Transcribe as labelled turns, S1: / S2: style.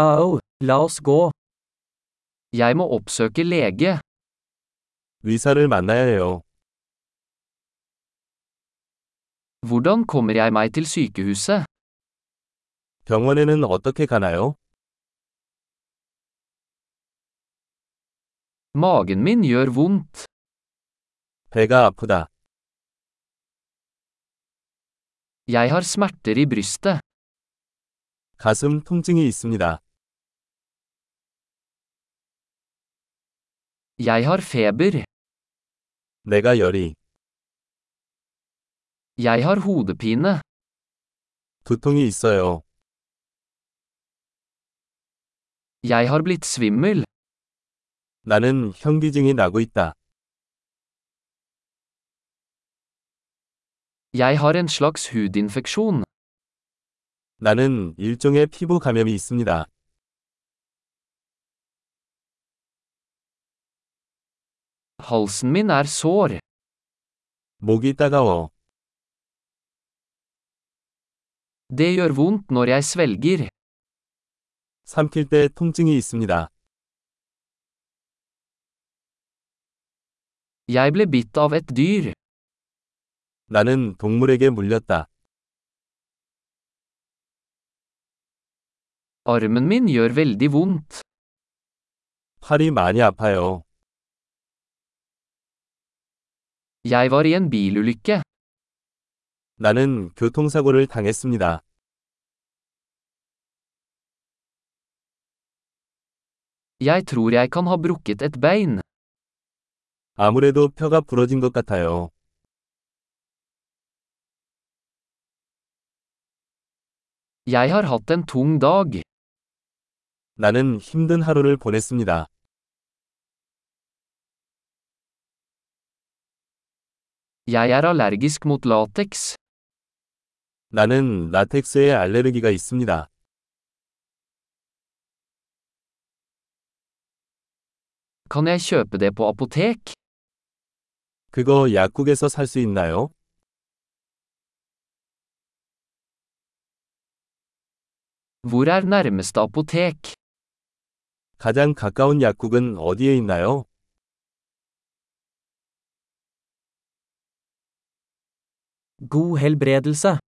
S1: Au, la oss gå. Jeg må oppsøke lege.
S2: 의사를 만나야 해요.
S1: Hvordan kommer jeg meg til sykehuset?
S2: 병원에는 어떻게 가나요?
S1: Magen min gjør vondt.
S2: 배가 아프다.
S1: Jeg har smerter i brystet.
S2: 가슴 통증이 있습니다.
S1: Jeg har feber.
S2: 내가 열이,
S1: Jeg har hodepine.
S2: 두통이 있어요.
S1: Jeg har blitt svimmel.
S2: 나는 현기증이 나고 있다.
S1: Jeg har en slags hudinfeksjon.
S2: 나는 일종의 피부 감염이 있습니다.
S1: Halsen min er sår.
S2: 목이 따가워.
S1: Det gjør vondt når jeg svelger.
S2: 삼킬 때 통증이 있습니다.
S1: Jeg ble bitt av et dyr.
S2: 나는 동물에게 물렸다.
S1: Armen min gjør veldig vondt.
S2: 팔이 많이 아파요.
S1: Jeg var i en bilulykke.
S2: 나는 교통사고를 당했습니다.
S1: Jeg tror jeg kan ha brukket et bein.
S2: 아무래도 뼈가 부러진 것 같아요.
S1: Jeg har hatt en tung dag.
S2: 나는 힘든 하루를 보냈습니다.
S1: Jeg er allergisk mot lateks.
S2: 나는 라텍스에 알레르기가 있습니다.
S1: Kan jeg kjøpe det på apotek?
S2: 그거 약국에서 살 수 있나요?
S1: Hvor er nærmeste apotek?
S2: 가장 가까운 약국은 어디에 있나요?
S1: God helbredelse.